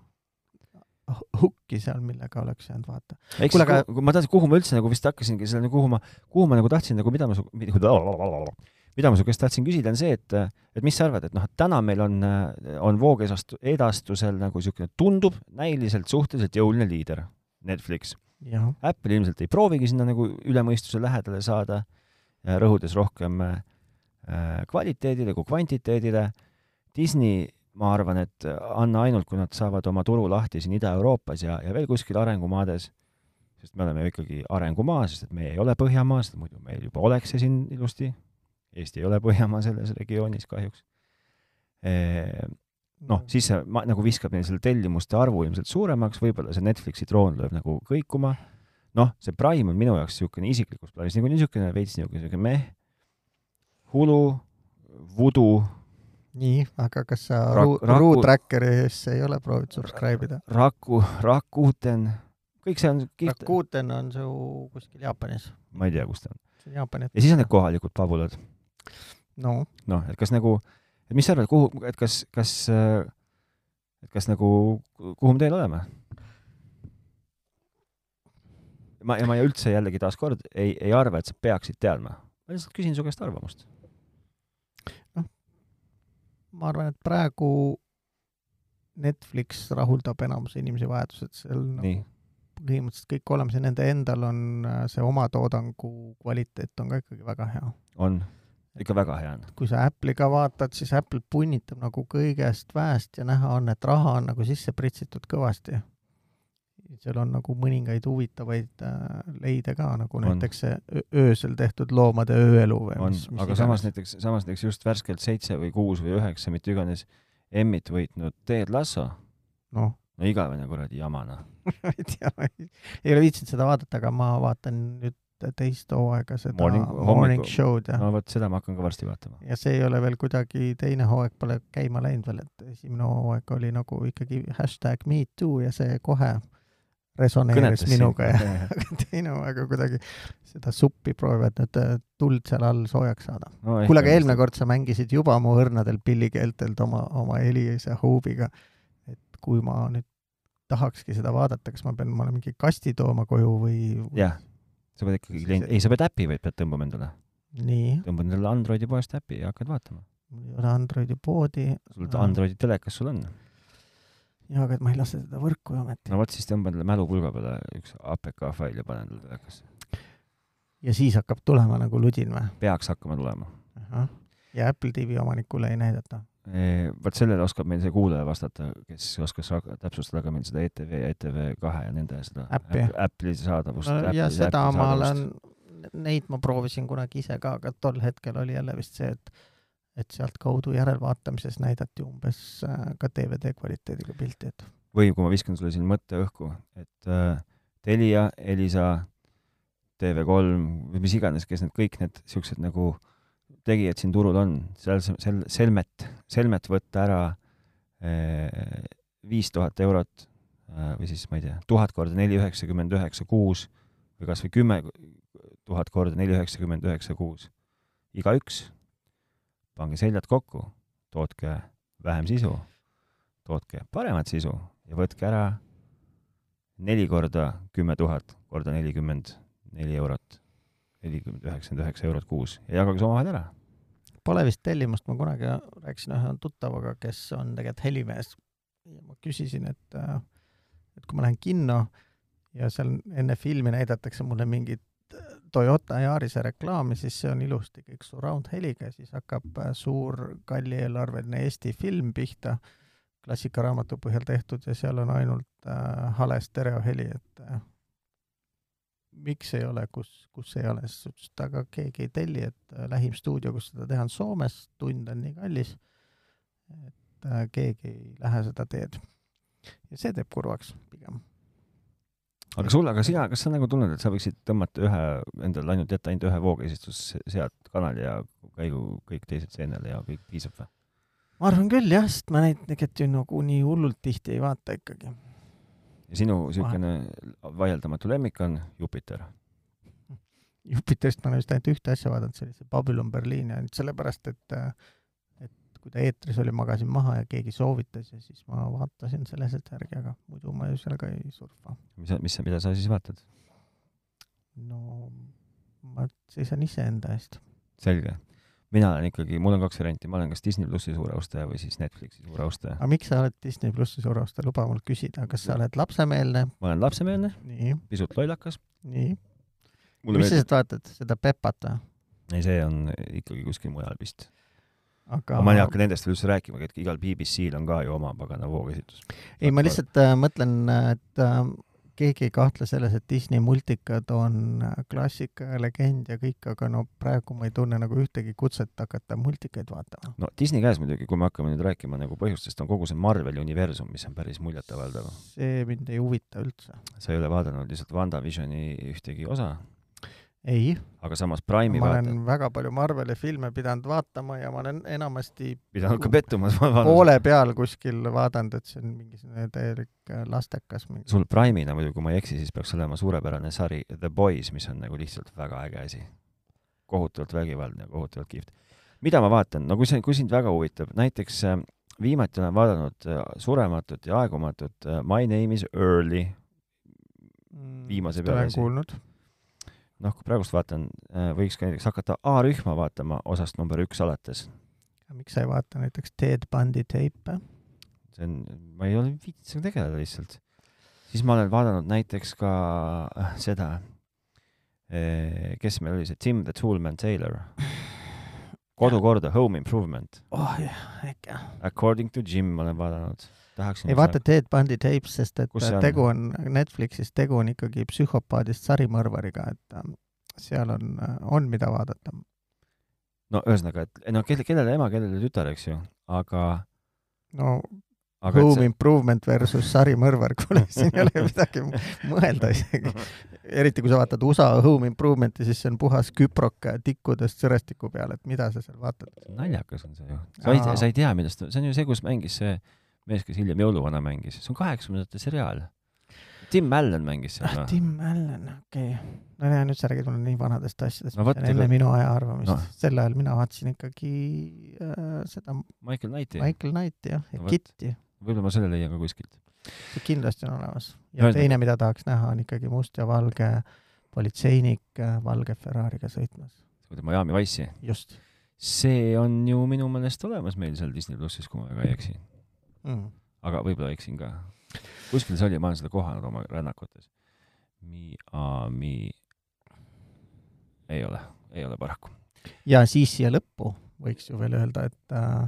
hukki seal, millega oleks jäänud vaata. kuule, aga ma tahtsin, kuhu ma üldse nagu vist hakkasingi selle, kuhu ma, kuhu ma nagu tahtsin nagu, mida ma su-, mida ma su käest tahtsin küsida, on see, et, et mis sa arvad, et noh, et täna meil on, on voogedastu-, edastusel nagu niisugune, tundub näiliselt suhteliselt jõuline liider, Noh, Netflix. Apple ilmselt ei proovigi sinna nagu üle mõistuse lähedale saada rõhudes rohkem äh, kvaliteedile kui kvantiteedile. Disney, ma arvan, et äh, anna ainult, kui nad saavad oma turu lahti siin Ida-Euroopas ja, ja veel kuskil arengumaades, sest me oleme ju ikkagi arengumaa, sest et meie ei ole Põhjamaa, sest muidu meil juba oleks see siin ilusti. Eesti ei ole Põhjamaa selles regioonis kahjuks e noh, Mm. siis see ma, nagu viskab neil selle tellimuste arvu ilmselt suuremaks, võib-olla see Netflixi troon lööb nagu kõikuma, noh, see Prime on minu jaoks niisugune isiklikus plaanis nagu niisugune veits niisugune, niisugune meh, Hulu, Voodoo. nii, aga kas sa Rak- Ru- raku- Ruutrackerisse ei ole proovinud subscribe ida ? Raku , Rakuten , kõik see on kihvt , Rakuten on su kuskil Jaapanis , ma ei tea , kus ta on . see on Jaapani ja siis on need kohalikud pabulad , no noh , et kas nagu , et mis sa arvad , kuhu , et kas , kas , et kas nagu , kuhu me teel oleme ? ma , ja ma ei- üldse jällegi taaskord ei , ei arva , et sa peaksid teadma . ma lihtsalt küsin su käest arvamust . ma arvan , et praegu Netflix rahuldab enamuse inimesi vajadused , seal nagu nii , põhimõtteliselt kõik olemas ja nende endal on äh, see oma toodangu kvaliteet on ka ikkagi väga hea . on , ikka väga hea on . kui sa Apple'iga vaatad , siis Apple punnitab nagu kõigest väest ja näha on , et raha on nagu sisse pritsitud kõvasti . seal on nagu mõningaid huvitavaid äh, leide ka , nagu On. on. näiteks see ö- öösel tehtud loomade ööelu või on mis , mis aga samas näiteks , samas näiteks just värskelt seitse või kuus või üheksa , mitte iganes , Emmit võitnud Ted Lasso , noh , no igavene kuradi jama noh . <laughs> ma ei tea , ei ole viitsinud seda vaadata , aga ma vaatan nüüd teist hooaega seda Morning- Morning, morning hommiku- Show'd ja no. , no vot seda ma hakkan ka varsti vaatama . ja see ei ole veel kuidagi , teine hooaeg pole käima läinud veel , et esimene hooaeg oli nagu ikkagi hashtag me too ja see kohe resoneeris minuga ja <laughs> teine hooaeg on kuidagi seda suppi proovivad nüüd äh, tuld seal all soojaks saada . no, kuule , aga eelmine . kord sa mängisid juba mu õrnadel pillikeeltelt oma , oma Elise huubiga . et kui ma nüüd tahakski seda vaadata , kas ma pean , ma olen mingi kasti tooma koju või ? jah , sa pead ikkagi klient , ei , sa pead äpi vaid pead tõmbama endale , nii , tõmbad endale Androidi poest äpi ja hakkad vaatama . mul ei ole Androidi poodi . sul Androidi telekas sul on . jaa , aga et ma ei lase seda võrku ju ometi . no vot , siis tõmba endale mälupulga peale üks APK fail ja pane endale telekasse . ja siis hakkab tulema nagu ludin või ? peaks hakkama tulema . ja Apple TV omanikule ei näidata . vot sellele oskab meil see kuulaja vastata , kes oskas ra- täpsustada ka meil seda ETV ja ETV kahe ja nende seda Äppi. Äpp- Apple'i saadavust no, . Äh, ja seda ma olen saadavust. , neid ma proovisin kunagi ise ka , aga tol hetkel oli jälle vist see , et et sealtkaudu järelvaatamises näidati umbes äh, ka DVD kvaliteediga pilti , et või kui ma viskan sulle siin mõtte õhku , et äh, Telia , Elisa , TV3 või mis iganes , kes need kõik need siuksed nagu tegijad siin turul on , seal se- sel- , selmet , selmet võtta ära äh, viis tuhat eurot äh, või siis ma ei tea , tuhat korda neli üheksakümmend üheksa kuus või kasvõi kümme tuhat korda neli üheksakümmend üheksa kuus . igaüks , pange seljad kokku , tootke vähem sisu , tootke paremat sisu ja võtke ära neli korda kümme tuhat korda nelikümmend neli eurot , nelikümmend üheksakümmend üheksa eurot kuus ja jagage see omavahel ära . Pole vist tellimust , ma kunagi rääkisin ühe tuttavaga , kes on tegelikult helimees ja ma küsisin , et äh, et kui ma lähen kinno ja seal enne filmi näidatakse mulle mingit Toyota Yarise reklaami , siis see on ilusti kõik surround heliga ja siis hakkab äh, suur kallieelarveline Eesti film pihta , klassikaraamatu põhjal tehtud ja seal on ainult äh, hale stereoheli , et äh, miks ei ole , kus , kus ei ole , siis ta ütles , et aga keegi ei telli , et äh, lähim stuudio , kus seda teha on Soomes , tund on nii kallis , et äh, keegi ei lähe seda teed . ja see teeb kurvaks pigem . aga sul , aga sina , kas sa nagu tunned , et sa võiksid tõmmata ühe endale ainult , jätta ainult ühe voogisistus sealt kanali ja käigu kõik teised seenele ja kõik piisab või ? ma arvan küll jah , sest ma neid tegelikult ju nagu nii hullult tihti ei vaata ikkagi . ja sinu niisugune vaieldamatu lemmik on Jupiter . Jupiterist ma olen vist ainult ühte asja vaadanud , see oli see Babylon Berliin ja nüüd sellepärast , et äh, et kui ta eetris oli , magasin maha ja keegi soovitas ja siis ma vaatasin selle sealt järgi , aga muidu ma ju seal ka ei surfa . mis , mis , mida sa siis vaatad ? no ma seisan iseenda eest . selge . mina olen ikkagi , mul on kaks varianti , ma olen kas Disney plussi suur austaja või siis Netflixi suur austaja . aga miks sa oled Disney plussi suur austaja , luba mul küsida , kas sa oled lapsemeelne ? ma olen lapsemeelne , nii , pisut lollakas . nii . mis sa sealt vaatad , seda Pepat või ? ei , see on ikkagi kuskil mujal vist . aga aga ma ei hakka nendest veel üldse rääkimagi , et igal BBC-l on ka ju oma pagana voogesitus . ei , ma lihtsalt äh, mõtlen , et äh, keegi ei kahtle selles , et Disney multikad on äh, klassika ja legend ja kõik , aga no praegu ma ei tunne nagu ühtegi kutset hakata multikaid vaatama . no Disney käes muidugi , kui me hakkame nüüd rääkima nagu põhjustest , on kogu see Marveli universum , mis on päris muljetavaldav . see mind ei huvita üldse . sa ei ole vaadanud lihtsalt WandaVisioni ühtegi osa , ei , aga samas Prime'i ma vaatad , olen väga palju Marveli filme pidanud vaatama ja ma olen enamasti pidanud ka pettuma . poole peal kuskil vaadanud , et see on mingisugune täielik äh, lastekas mingi . sul Prime'ina muidu , kui ma ei eksi , siis peaks olema suurepärane sari The Boys , mis on nagu lihtsalt väga äge asi . kohutavalt vägivaldne ja kohutavalt kihvt . mida ma vaatan , no kui see , kui sind väga huvitab , näiteks äh, viimati olen vaadanud äh, surematut ja aegumatut äh, My name is Early , viimase peale Mm, olen asi. kuulnud . noh , kui praegust vaatan , võiks ka näiteks hakata A-rühma vaatama osast number üks alates . miks sa ei vaata näiteks Ted Bundy teipe ? see on , ma ei ole viitsinud sellega tegeleda lihtsalt . siis ma olen vaadanud näiteks ka äh, seda , kes meil oli see Tim the Toolman Taylor , kodukorda , Home Improvement , oh jah , äkki . According to Jim ma olen vaadanud . tahaksin ei vaata . Ted Bundy teip , sest et Kus see on? tegu on Netflixis , tegu on ikkagi psühhopaadist sarimõrvariga , et ähm, seal on , on mida vaadata . no ühesõnaga , et no kelle , kellele ema , kellele tütar , eks ju , aga , no aga Home see... Improvement versus sarimõrvar , <laughs> kuule , siin ei ole midagi mu- mõelda isegi . eriti kui sa vaatad USA Home Improvement'i , siis see on puhas küproka tikkudest sõrestiku peale , et mida sa seal vaatad . naljakas on see ju . sa ei Aa. , sa ei tea , millest , see on ju see , kus mängis see mees , kes hiljem jõuluvana mängis , see on kaheksakümnendate seriaal . Tim Allan mängis seal noh. või ? Ah, Tim Allan , okei okay. . no ja nüüd sa räägid mulle nii vanadest asjadest No no, , vot, mis on enne aga- minu aja arvamist Noh. no. . sel ajal mina vaatasin ikkagi äh, seda Michael Knighti , Michael Knighti jah , ja No vot. Kitti . võib-olla ma selle leian ka kuskilt . see kindlasti on olemas . ja Ühesõnaga- teine , mida tahaks näha , on ikkagi must ja valge politseinik äh, valge Ferrari'ga sõitmas . kuidas Miami Wice'i . just see on ju minu meelest olemas meil seal Disney plussis , kui ma väga ei eksi , mm. . aga võib-olla eksin ka . kuskil see oli , ma olen seda kohanud oma rännakutes . Miami , ei ole , ei ole paraku . ja siis siia lõppu võiks ju veel öelda , et äh,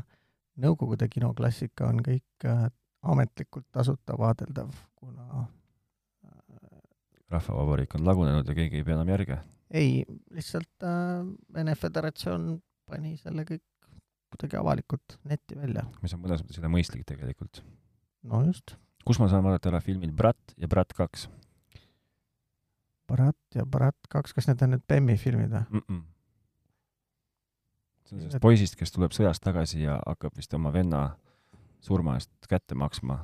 Nõukogude kinoklassika on kõik äh, ametlikult tasuta vaadeldav , kuna äh, rahvavabariik on lagunenud ja keegi ei pea enam järge . ei , lihtsalt äh, Vene Föderatsioon pani selle kõik kuidagi avalikult netti välja . mis on mõnes mõttes üle mõistlik tegelikult . no just , kus ma saan vaadata ära filmid Brat ja Brat kaks Barat ja Barat kaks , kas need on need Bemmi filmid või ? mm ? -mm. see on sellest poisist , kes tuleb sõjast tagasi ja hakkab vist oma venna surma eest kätte maksma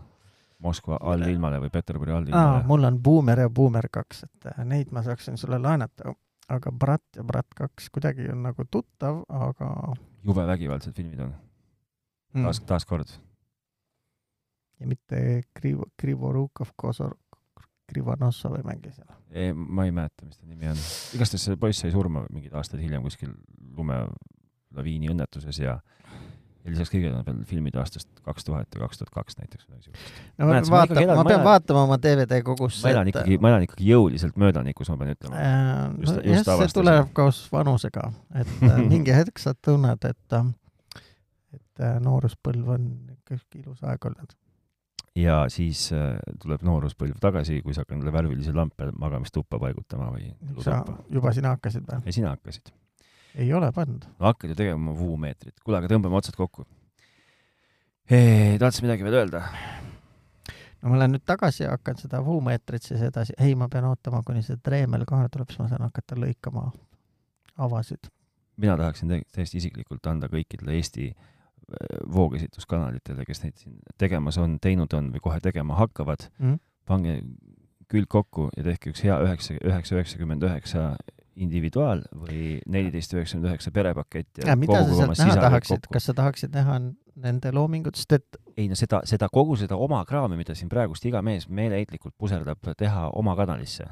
Moskva allilmale või Peterburi aa , allilmale . mul on Buumer ja Buumer kaks , et äh, neid ma saaksin sulle laenata , aga Barat ja Barat kaks kuidagi on nagu tuttav , aga jube vägivaldsed filmid on , taas , mm. taaskord . ja mitte Krivo , Krivorukov , Kosor , Krivonossov ei mängi seal . ei , ma ei mäleta , mis ta nimi on . igastahes see poiss sai surma mingid aastad hiljem kuskil lumelaviini õnnetuses ja ja lisaks kõigele on veel filmid aastast kaks tuhat ja kaks tuhat kaks näiteks . no ma Näed, pean sa- ma ikkagi vaatama , elan- ma ma pean elan- vaatama oma DVD kogusse . ma elan ikkagi , ma elan ikkagi jõuliselt möödanikus , ma pean ütlema . Äh, Just- no just jah , see avastasin. tuleb koos vanusega , et <laughs> äh, mingi hetk sa tunned , et , et äh, nooruspõlv on ikkagi ilus aeg olnud . ja siis äh, tuleb nooruspõlv tagasi , kui sa hakkad endale värvilisi lampe magamistuppa paigutama või sa elutuppa . juba sina hakkasid või ? ja sina hakkasid . ei ole pannud . no hakkad ju tegema oma vuumeetrit . kuule , aga tõmbame otsad kokku . tahtsid midagi veel öelda ? no ma lähen nüüd tagasi ja hakkan seda vuumeetrit siis edasi , ei , ma pean ootama , kuni see treemel kohale tuleb , siis ma saan hakata lõikama avasid . mina tahaksin teg- täiesti isiklikult anda kõikidele Eesti äh, voogesituskanalitele , kes neid siin tegemas on , teinud on või kohe tegema hakkavad Mhm. pange külg kokku ja tehke üks hea üheksa , üheksa üheksakümmend üheksa individuaal või neliteist üheksakümmend üheksa perepakett ja, ja mida sa koguge oma sealt näha sisalid tahaksid , kokku. kas sa tahaksid näha n- nende loomingut , sest et ei no seda , seda kogu seda oma kraami , mida siin praegust iga mees meeleheitlikult puserdab , teha oma kanalisse .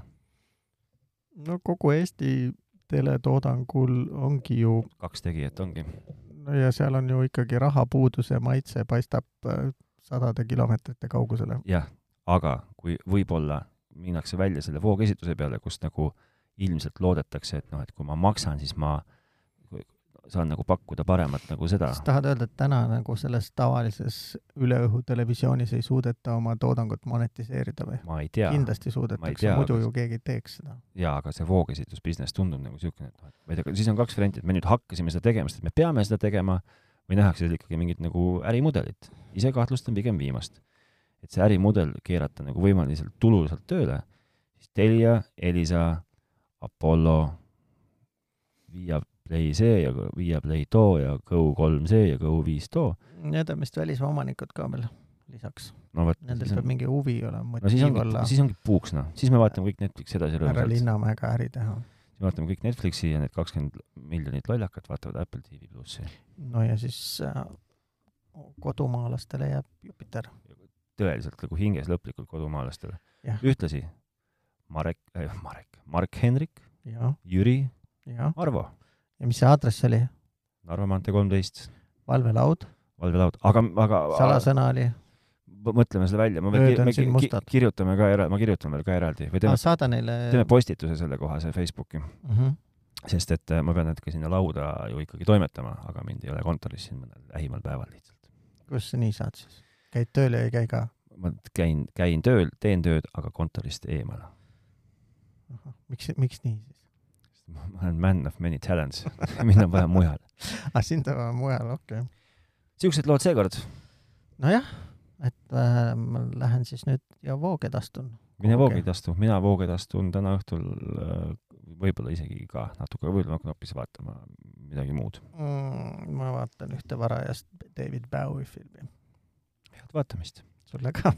no kogu Eesti teletoodangul ongi ju kaks tegijat ongi . no ja seal on ju ikkagi rahapuuduse maitse paistab äh, sadade kilomeetrite kaugusele . jah , aga kui võib-olla minnakse välja selle voogesituse peale , kus nagu ilmselt loodetakse , et noh , et kui ma maksan , siis ma saan nagu pakkuda paremat nagu seda siis tahad öelda , et täna nagu selles tavalises üle õhu televisioonis ei suudeta oma toodangut monetiseerida või ? ma ei tea , kindlasti Ma ei suudetakse tea, , muidu aga- ju keegi ei teeks seda . jaa , aga see voogesitlusbusiness tundub nagu niisugune , et noh , et ma ei tea , siis on kaks varianti , et me nüüd hakkasime seda tegema , sest et me peame seda tegema või nähakse seal ikkagi mingit nagu ärimudelit . ise kahtlustan pigem viimast . et see ärimudel keerata nagu võimaliselt tulusalt tööle , siis Telia , Elisa , Apollo , Via Play see ja Via Play too ja Go3 see ja Go5 too , Need on vist välismaa omanikud ka veel lisaks . no vot . Nendel peab mingi huvi olema , no siis motiiv ongi olla , siis ongi puuks noh , siis me vaatame kõik Netflixi edasi härra rõõmsalt . Linnamäega äri teha . siis vaatame kõik Netflixi ja need kakskümmend miljonit lollakat vaatavad Apple TV plussi . no ja siis äh, kodumaalastele jääb Jupiter . tõeliselt nagu hinges lõplikult kodumaalastele Jah. . ühtlasi Marek äh, , Marek , Mark Henrik , jah , Jüri , jah . Arvo , ja mis see aadress oli ? Narva maantee kolmteist , valvelaud , valvelaud , aga , aga salasõna oli , m- mõtleme selle välja , me Möödan veel ki- siin me ki- ki- mustad. kirjutame ka eraldi , ma kirjutan veel ka eraldi või teeme , Ah, saada neile teeme postituse sellekohase Facebooki , mm . -hmm. sest et äh, ma pean natuke sinna lauda ju ikkagi toimetama , aga mind ei ole kontoris siin mõnel lähimal päeval lihtsalt . kus sa nii saad siis ? käid tööl ja ei käi ka ? ma käin , käin tööl , teen tööd , aga kontorist eemal . miks , miks nii siis ? <laughs> ma ma olen man of many talents , <laughs> mind on vaja mujale . aa , Ah, sind on vaja mujal , okei okay. . siuksed lood seekord , nojah , et äh, ma lähen siis nüüd ja vooged astun . mine Okei. voogeid astu , mina voogeid astun täna õhtul äh, võib-olla isegi ka natuke , võib-olla ma hakkan hoopis vaatama midagi muud . mm, . ma vaatan ühte varajast David Bowie filmi . head vaatamist . sulle ka ?